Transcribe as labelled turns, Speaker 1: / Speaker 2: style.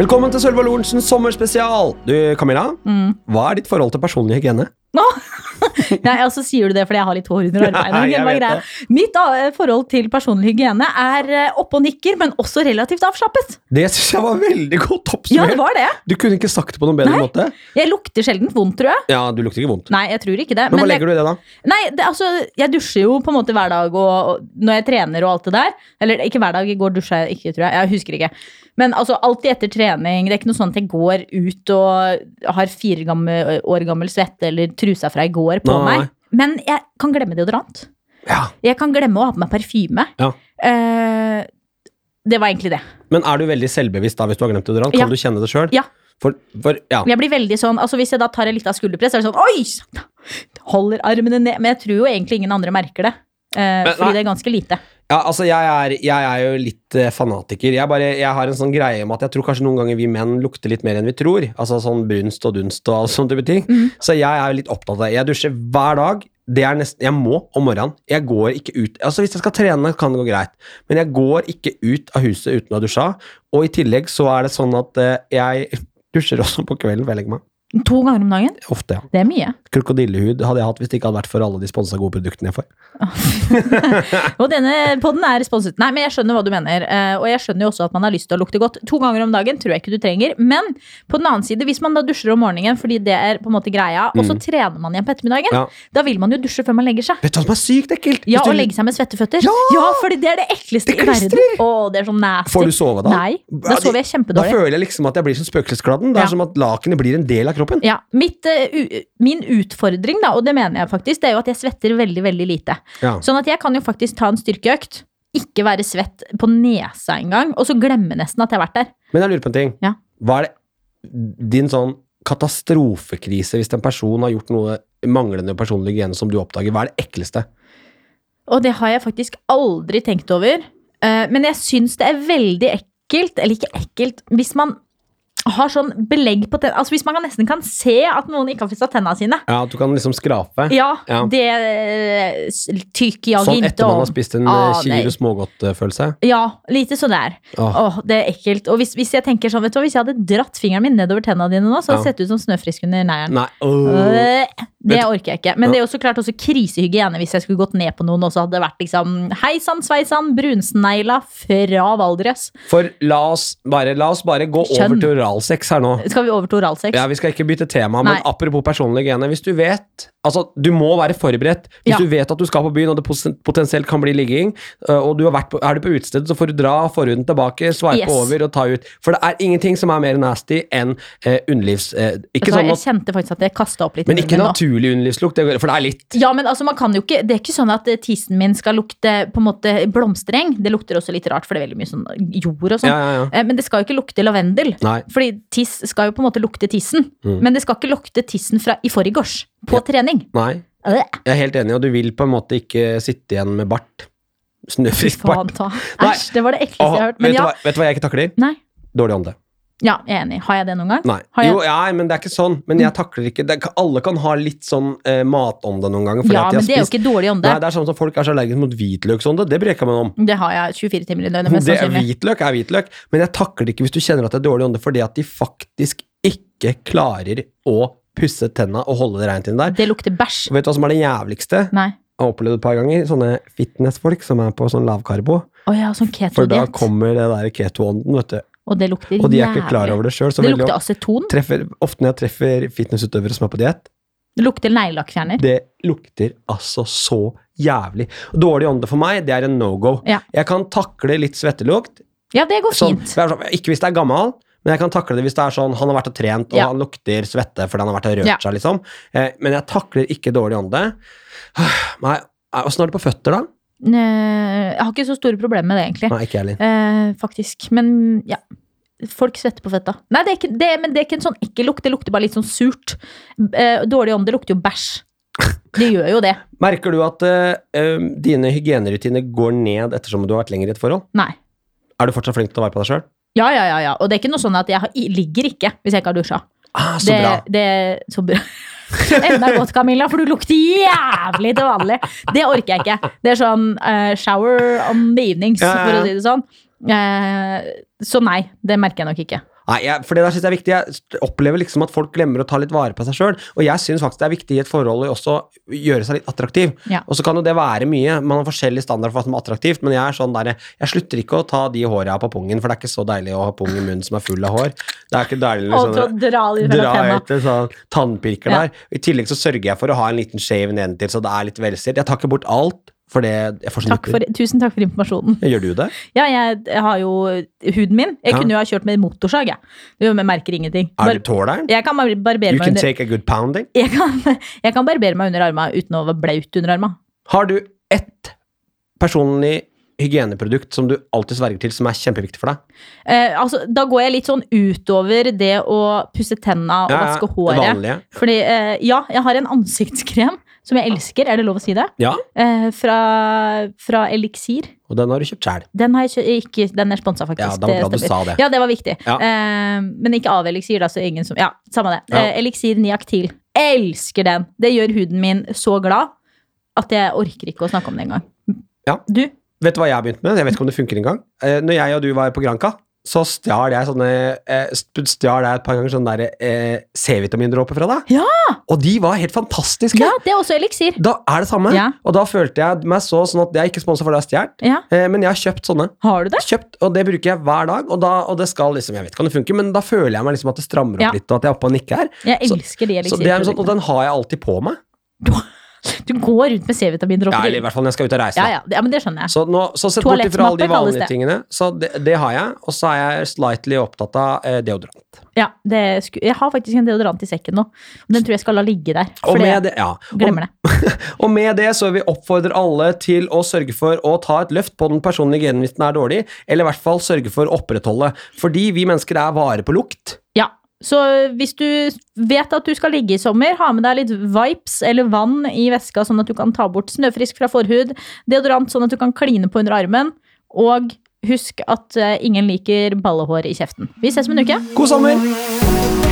Speaker 1: Velkommen til Sølve Lorentzens sommerspesial! Du, Camilla,
Speaker 2: Mm.
Speaker 1: hva er ditt forhold til personlig hygiene?
Speaker 2: Nei, altså sier du det fordi jeg har litt hår under armene.
Speaker 1: Nei,
Speaker 2: men
Speaker 1: jeg
Speaker 2: bare
Speaker 1: vet
Speaker 2: greia. Mitt eh, forhold til personlig hygiene er eh, oppe og nikker, men også relativt avslappet.
Speaker 1: Det syns jeg var veldig godt
Speaker 2: Ja, det
Speaker 1: oppsummert.
Speaker 2: var det.
Speaker 1: du kunne ikke sagt det på noen bedre
Speaker 2: Nei.
Speaker 1: måte.
Speaker 2: Jeg lukter sjelden vondt, tror jeg.
Speaker 1: Ja, du lukter ikke vondt.
Speaker 2: Nei, jeg tror ikke det.
Speaker 1: Men, hva
Speaker 2: jeg-
Speaker 1: legger du i det, da?
Speaker 2: Nei, det, altså, jeg dusjer jo på en måte hver dag og, og når jeg trener og alt det der. Eller ikke hver dag, i går dusja jeg ikke, tror jeg. Jeg husker ikke. Men altså, alltid etter trening. Det er ikke noe sånn at jeg går ut og har fire gammel, eh, år gammel svette eller trusa fra i går på
Speaker 1: Nei.
Speaker 2: meg. Men jeg kan glemme deodorant.
Speaker 1: Ja.
Speaker 2: Jeg kan glemme å ha på meg parfyme.
Speaker 1: Ja.
Speaker 2: Eh, det var egentlig det.
Speaker 1: Men er du veldig selvbevisst da hvis du har glemt deodorant?
Speaker 2: Ja.
Speaker 1: Kan du kjenne det sjøl?
Speaker 2: Ja.
Speaker 1: For, for, ja.
Speaker 2: Jeg blir veldig sånn, altså Hvis jeg da tar litt av skulderpress, så er det sånn Oi! satan!» Holder armene ned. Men jeg tror jo egentlig ingen andre merker det. eh,
Speaker 1: Men, nei.
Speaker 2: fordi det er ganske lite.
Speaker 1: ja, altså jeg er, jeg er jo litt eh, fanatiker. Jeg, bare, jeg har en sånn greie om at jeg tror kanskje noen ganger vi menn lukter litt mer enn vi tror. Altså sånn brunst og dunst og all sånn type ting.
Speaker 2: Mhm.
Speaker 1: Så jeg er jo litt opptatt av det. Jeg dusjer hver dag. Det er nesten, jeg må om morgenen. Jeg går ikke ut Altså Hvis jeg skal trene, kan det gå greit, men jeg går ikke ut av huset uten å ha dusja. Og i tillegg så er det sånn at eh, jeg dusjer også på kvelden før jeg legger meg.
Speaker 2: To ganger om dagen?
Speaker 1: Ofte, ja.
Speaker 2: Det er mye.
Speaker 1: Krokodillehud hadde jeg hatt hvis det ikke hadde vært for alle de sponsa gode produktene jeg får.
Speaker 2: Og denne podden er sponset. Nei, men jeg skjønner hva du mener. eh, Og jeg skjønner jo også at man har lyst til å lukte godt. To ganger om dagen tror jeg ikke du trenger. Men på den annen side, hvis man da dusjer om morgenen fordi det er på en måte greia, og så trener man igjen på ettermiddagen,
Speaker 1: Mm. Ja.
Speaker 2: da vil man jo dusje før man legger seg.
Speaker 1: Vet du hva som er sykt ekkelt?
Speaker 2: Ja,
Speaker 1: Hvis du-
Speaker 2: og legge seg med svette føtter.
Speaker 1: Ja!
Speaker 2: fordi det er det ekleste
Speaker 1: Det
Speaker 2: i verden.
Speaker 1: klistrer!
Speaker 2: Å, det er så nasty.
Speaker 1: Får du sove da?
Speaker 2: Nei, da
Speaker 1: Ja, de-
Speaker 2: sover jeg
Speaker 1: Da
Speaker 2: kjempedårlig.
Speaker 1: føler jeg liksom at jeg blir som spøkelsesgladden. Det er
Speaker 2: Ja.
Speaker 1: som at lakenet blir en del av kroppen.
Speaker 2: Ja, mitt, eh, u- min utfordring, da, og det mener jeg faktisk, det er jo at jeg svetter veldig, veldig lite.
Speaker 1: Ja.
Speaker 2: Sånn at jeg kan jo faktisk ta en styrkeøkt, ikke være svett på nesa engang, og så glemme nesten at jeg har vært der.
Speaker 1: Men jeg lurer på en ting.
Speaker 2: Ja.
Speaker 1: Hva er det din sånn katastrofekrise hvis en person har gjort noe manglende personlig hygiene som du oppdager? Hva er det ekleste?
Speaker 2: Og det har jeg faktisk aldri tenkt over. Eh, Men jeg syns det er veldig ekkelt, eller ikke ekkelt, hvis man har sånn belegg på tennene Altså hvis man kan nesten kan se at noen ikke har pussa tennene sine.
Speaker 1: Ja, At du kan liksom skrape?
Speaker 2: Ja,
Speaker 1: Ja.
Speaker 2: det eh, s- tykker jeg
Speaker 1: sånn
Speaker 2: ikke
Speaker 1: etter man
Speaker 2: om.
Speaker 1: har spist en
Speaker 2: Ah,
Speaker 1: eh,
Speaker 2: nei.
Speaker 1: kilo smågodtfølelse?
Speaker 2: Ja, lite sånn der.
Speaker 1: Åh.
Speaker 2: Åh, det er ekkelt. Og hvis, hvis jeg tenker sånn, vet du hva, hvis jeg hadde dratt fingeren min nedover tennene dine nå, så hadde det
Speaker 1: Ja.
Speaker 2: sett ut som snøfrisk under neieren.
Speaker 1: Nei. åh.
Speaker 2: Øh, Det
Speaker 1: Vet-
Speaker 2: orker jeg ikke. Men det er jo så klart også krisehygiene hvis jeg skulle gått ned på noen, og så hadde det vært liksom hei sann, sveisann, brunsnegla fra Valdres.
Speaker 1: For la oss bare, la oss bare gå over
Speaker 2: Kjønn.
Speaker 1: til oralsex her nå.
Speaker 2: Skal vi over til oralsex?
Speaker 1: Ja, Vi skal ikke bytte tema, men
Speaker 2: Nei.
Speaker 1: apropos personlig hygiene. Hvis du vet Altså, du må være forberedt. Hvis
Speaker 2: Ja.
Speaker 1: du vet at du skal på byen, og det posen- potensielt kan bli ligging, øh, og du har vært på, er du på utestedet, så får du dra forhuden tilbake, sveipe
Speaker 2: Yes.
Speaker 1: over og ta ut. For det er ingenting som er mer nasty enn eh, underlivs... Eh,
Speaker 2: Vet
Speaker 1: ikke
Speaker 2: du hva,
Speaker 1: sånn
Speaker 2: Altså, jeg
Speaker 1: at,
Speaker 2: kjente faktisk at jeg kasta opp litt. i
Speaker 1: men ikke
Speaker 2: munnen nå.
Speaker 1: naturlig underlivslukt, det går- for det er litt
Speaker 2: Ja, men altså, man kan jo ikke, Det er ikke sånn at eh, tissen min skal lukte på en måte blomstereng. Det lukter også litt rart, for det er veldig mye sånn jord og sånn.
Speaker 1: Ja, ja, ja.
Speaker 2: Eh, Men det skal jo ikke lukte lavendel.
Speaker 1: Nei.
Speaker 2: Fordi tiss skal jo på en måte lukte tissen.
Speaker 1: Mm.
Speaker 2: Men det skal ikke lukte tissen fra i forgårs, på trening.
Speaker 1: Nei.
Speaker 2: Øh,
Speaker 1: Jeg er helt enig, og du vil på en måte ikke sitte igjen med bart. Snøfrisk
Speaker 2: Faen
Speaker 1: bart.
Speaker 2: ta.
Speaker 1: Nei.
Speaker 2: Æsj, det var det ekleste
Speaker 1: Åh,
Speaker 2: jeg har hørt.
Speaker 1: vet,
Speaker 2: Men
Speaker 1: du
Speaker 2: ja,
Speaker 1: hva, vet du hva jeg ikke takler?
Speaker 2: nei.
Speaker 1: Dårlig ånde.
Speaker 2: ja, jeg er enig. Har jeg det noen gang?
Speaker 1: Nei.
Speaker 2: Har jeg-
Speaker 1: Jo, ja, men det er ikke sånn. Men jeg takler ikke det, er- Alle kan ha litt sånn eh, matånde noen ganger. fordi
Speaker 2: ja,
Speaker 1: at de har
Speaker 2: men det er jo
Speaker 1: spist-
Speaker 2: ikke dårlig ånde.
Speaker 1: Nei, det er sånn som folk er så allergiske mot hvitløksånde. Det breker man om.
Speaker 2: Det har jeg 24 timer i døgnet, mest
Speaker 1: Det er,
Speaker 2: sannsynlig.
Speaker 1: hvitløk er hvitløk, men jeg takler det ikke hvis du kjenner at det er dårlig ånde, fordi at de faktisk ikke klarer å pusse tenna og holde det reint inni der.
Speaker 2: Det lukter bæsj.
Speaker 1: Og vet du hva som er det jævligste? Jeg
Speaker 2: Nei.
Speaker 1: har opplevd et par ganger sånne fitnessfolk som er på sånn lavkarbo.
Speaker 2: Å ja, sånn
Speaker 1: For da
Speaker 2: ketodiett.
Speaker 1: kommer det der keto-ånden, vet du.
Speaker 2: Og det lukter
Speaker 1: Og de er ikke klar over det sjøl.
Speaker 2: Det lukter aceton.
Speaker 1: Ofte når jeg treffer fitnessutøvere som er på diett,
Speaker 2: Det lukter neglelakkfjerner.
Speaker 1: Det lukter altså så jævlig. Dårlig ånde for meg, det er en no-go.
Speaker 2: Ja.
Speaker 1: Jeg kan takle litt svettelukt.
Speaker 2: Ja, det går
Speaker 1: Sånn,
Speaker 2: fint.
Speaker 1: jeg er sånn, ikke hvis det er gammel, men jeg kan takle det hvis det er sånn han har vært og trent, og
Speaker 2: Ja.
Speaker 1: han lukter svette fordi han har vært og rørt
Speaker 2: Ja.
Speaker 1: seg, liksom. Eh, men jeg takler ikke dårlig ånde. Nei, åssen er det på føtter, da?
Speaker 2: Nø, Eh, Jeg har ikke så store problemer med det, egentlig.
Speaker 1: Nei, ikke jeg heller.
Speaker 2: Eh, faktisk. Men ja. Folk svetter på fetta. Nei, det er ikke, det, men det er ikke en sånn ekkel lukt. Det lukter bare litt sånn surt. Eh, dårlig ånde lukter jo bæsj. Det gjør jo det.
Speaker 1: Merker du at eh, eh, dine hygienerutiner går ned ettersom du har vært lenger i et forhold?
Speaker 2: Nei.
Speaker 1: Er du fortsatt flink til å være på deg sjøl?
Speaker 2: Ja, ja, ja, ja. Og det er ikke noe sånn at jeg har, i- ligger ikke hvis jeg ikke har dusja.
Speaker 1: Ah, så
Speaker 2: Det,
Speaker 1: bra.
Speaker 2: det, så bra. Enda godt, Camilla, for du lukter jævlig til vanlig. Det orker jeg ikke. Det er sånn eh, shower on the evenings,
Speaker 1: Ja, ja, ja.
Speaker 2: for å si det sånn. Eh, så nei, det merker jeg nok ikke.
Speaker 1: Nei, jeg, for det der synes jeg er viktig. Jeg st- opplever liksom at folk glemmer å ta litt vare på seg sjøl. Og jeg syns faktisk det er viktig i et forhold å også gjøre seg litt attraktiv.
Speaker 2: Ja.
Speaker 1: Og så kan jo det være mye. Man har forskjellig standard for hva som er attraktivt, men jeg er sånn der, jeg slutter ikke å ta de håra jeg har på pungen, for det er ikke så deilig å ha pung i munnen som er full av hår. Det er ikke deilig
Speaker 2: Og til å
Speaker 1: liksom,
Speaker 2: dra
Speaker 1: å
Speaker 2: litt
Speaker 1: dra
Speaker 2: mellom tenna.
Speaker 1: ut en sånn tannpirker
Speaker 2: Ja.
Speaker 1: der. I tillegg så sørger jeg for å ha en liten shave nedentil, så det er litt velstelt. Jeg tar ikke bort alt, for det jeg får så
Speaker 2: Takk for, tusen takk for informasjonen.
Speaker 1: Gjør du det?
Speaker 2: Ja, jeg har jo huden min. Jeg
Speaker 1: Ja.
Speaker 2: kunne jo ha kjørt med motorsag, jeg. Det gjør- jeg merker ingenting.
Speaker 1: Er
Speaker 2: Bar
Speaker 1: du tåleren?
Speaker 2: jeg kan bare barbere
Speaker 1: You can
Speaker 2: meg under
Speaker 1: take a good pounding.
Speaker 2: jeg kan, jeg kan barbere meg under arma uten å være blaut under arma.
Speaker 1: Har du ett personlig hygieneprodukt som du alltid sverger til, som er kjempeviktig for deg?
Speaker 2: Eh, altså, da går jeg litt sånn utover det å pusse tenna og
Speaker 1: Ja, ja,
Speaker 2: vaske
Speaker 1: det
Speaker 2: håret.
Speaker 1: vanlige.
Speaker 2: Fordi, eh, ja, jeg har en ansiktskrem som jeg elsker, er det lov å si det?
Speaker 1: Ja,
Speaker 2: Eh, fra, fra Elixir.
Speaker 1: og den har du kjøpt sjæl.
Speaker 2: Den, har jeg kjø ikke, den er sponsa, faktisk.
Speaker 1: Ja, det var bra
Speaker 2: det
Speaker 1: du
Speaker 2: stemmer.
Speaker 1: sa det.
Speaker 2: Ja, det var viktig.
Speaker 1: Ja.
Speaker 2: Eh, men ikke av eliksir, da, så ingen som Ja, samme det.
Speaker 1: Ja.
Speaker 2: Eh, eliksir Niaktil. Elsker den! Det gjør huden min så glad at jeg orker ikke å snakke om det engang.
Speaker 1: Ja.
Speaker 2: Du?
Speaker 1: Vet du hva jeg har begynt med? Jeg vet ikke om det funker engang. Eh, Når jeg og du var på Granca, så stjal jeg sånne eh, st- Stjal jeg et par ganger sånne der, eh, C-vitamindråper fra deg.
Speaker 2: Ja!
Speaker 1: Og de var helt fantastiske!
Speaker 2: Ja, det er også eliksir.
Speaker 1: Da er det samme.
Speaker 2: Ja.
Speaker 1: Og da følte jeg meg så sånn at jeg er ikke sponsa for det jeg har stjålet,
Speaker 2: Ja.
Speaker 1: eh, men jeg har kjøpt sånne.
Speaker 2: Har du det?
Speaker 1: kjøpt, og det bruker jeg hver dag. Og, da, og det skal liksom, jeg vet ikke om det funker, men da føler jeg meg liksom at det strammer opp
Speaker 2: Ja.
Speaker 1: litt, og at jeg er oppe og nikker her.
Speaker 2: Jeg
Speaker 1: Så-
Speaker 2: elsker de
Speaker 1: Så det er sånn, og
Speaker 2: eliksirproduktene.
Speaker 1: den har jeg alltid på meg.
Speaker 2: Du går rundt med
Speaker 1: Ja, eller i
Speaker 2: C-vitamindråper.
Speaker 1: hvert fall når jeg skal ut og reise.
Speaker 2: Ja,
Speaker 1: da.
Speaker 2: ja, det- ja, men det skjønner jeg.
Speaker 1: Så, nå, så sett bort ifra alle de
Speaker 2: Toalettmappe kalles
Speaker 1: vanlige
Speaker 2: det.
Speaker 1: tingene, så det, det har jeg. Og så er jeg slightly opptatt av eh, deodorant.
Speaker 2: Ja, det sku, jeg har faktisk en deodorant i sekken nå. Og Den tror jeg skal la ligge der.
Speaker 1: Og
Speaker 2: For
Speaker 1: med
Speaker 2: jeg
Speaker 1: det, ja. og,
Speaker 2: glemmer det.
Speaker 1: og med det så vil vi oppfordre alle til å sørge for å ta et løft på den personlige hygienen hvis den er dårlig, eller i hvert fall sørge for å opprettholde. Fordi vi mennesker er vare på lukt.
Speaker 2: Ja, så hvis du vet at du skal ligge i sommer, ha med deg litt vipes eller vann i veska, sånn at du kan ta bort snøfrisk fra forhud, deodorant sånn at du kan kline på under armen, og husk at eh, ingen liker ballehår i kjeften. Vi ses om en uke.
Speaker 1: God sommer!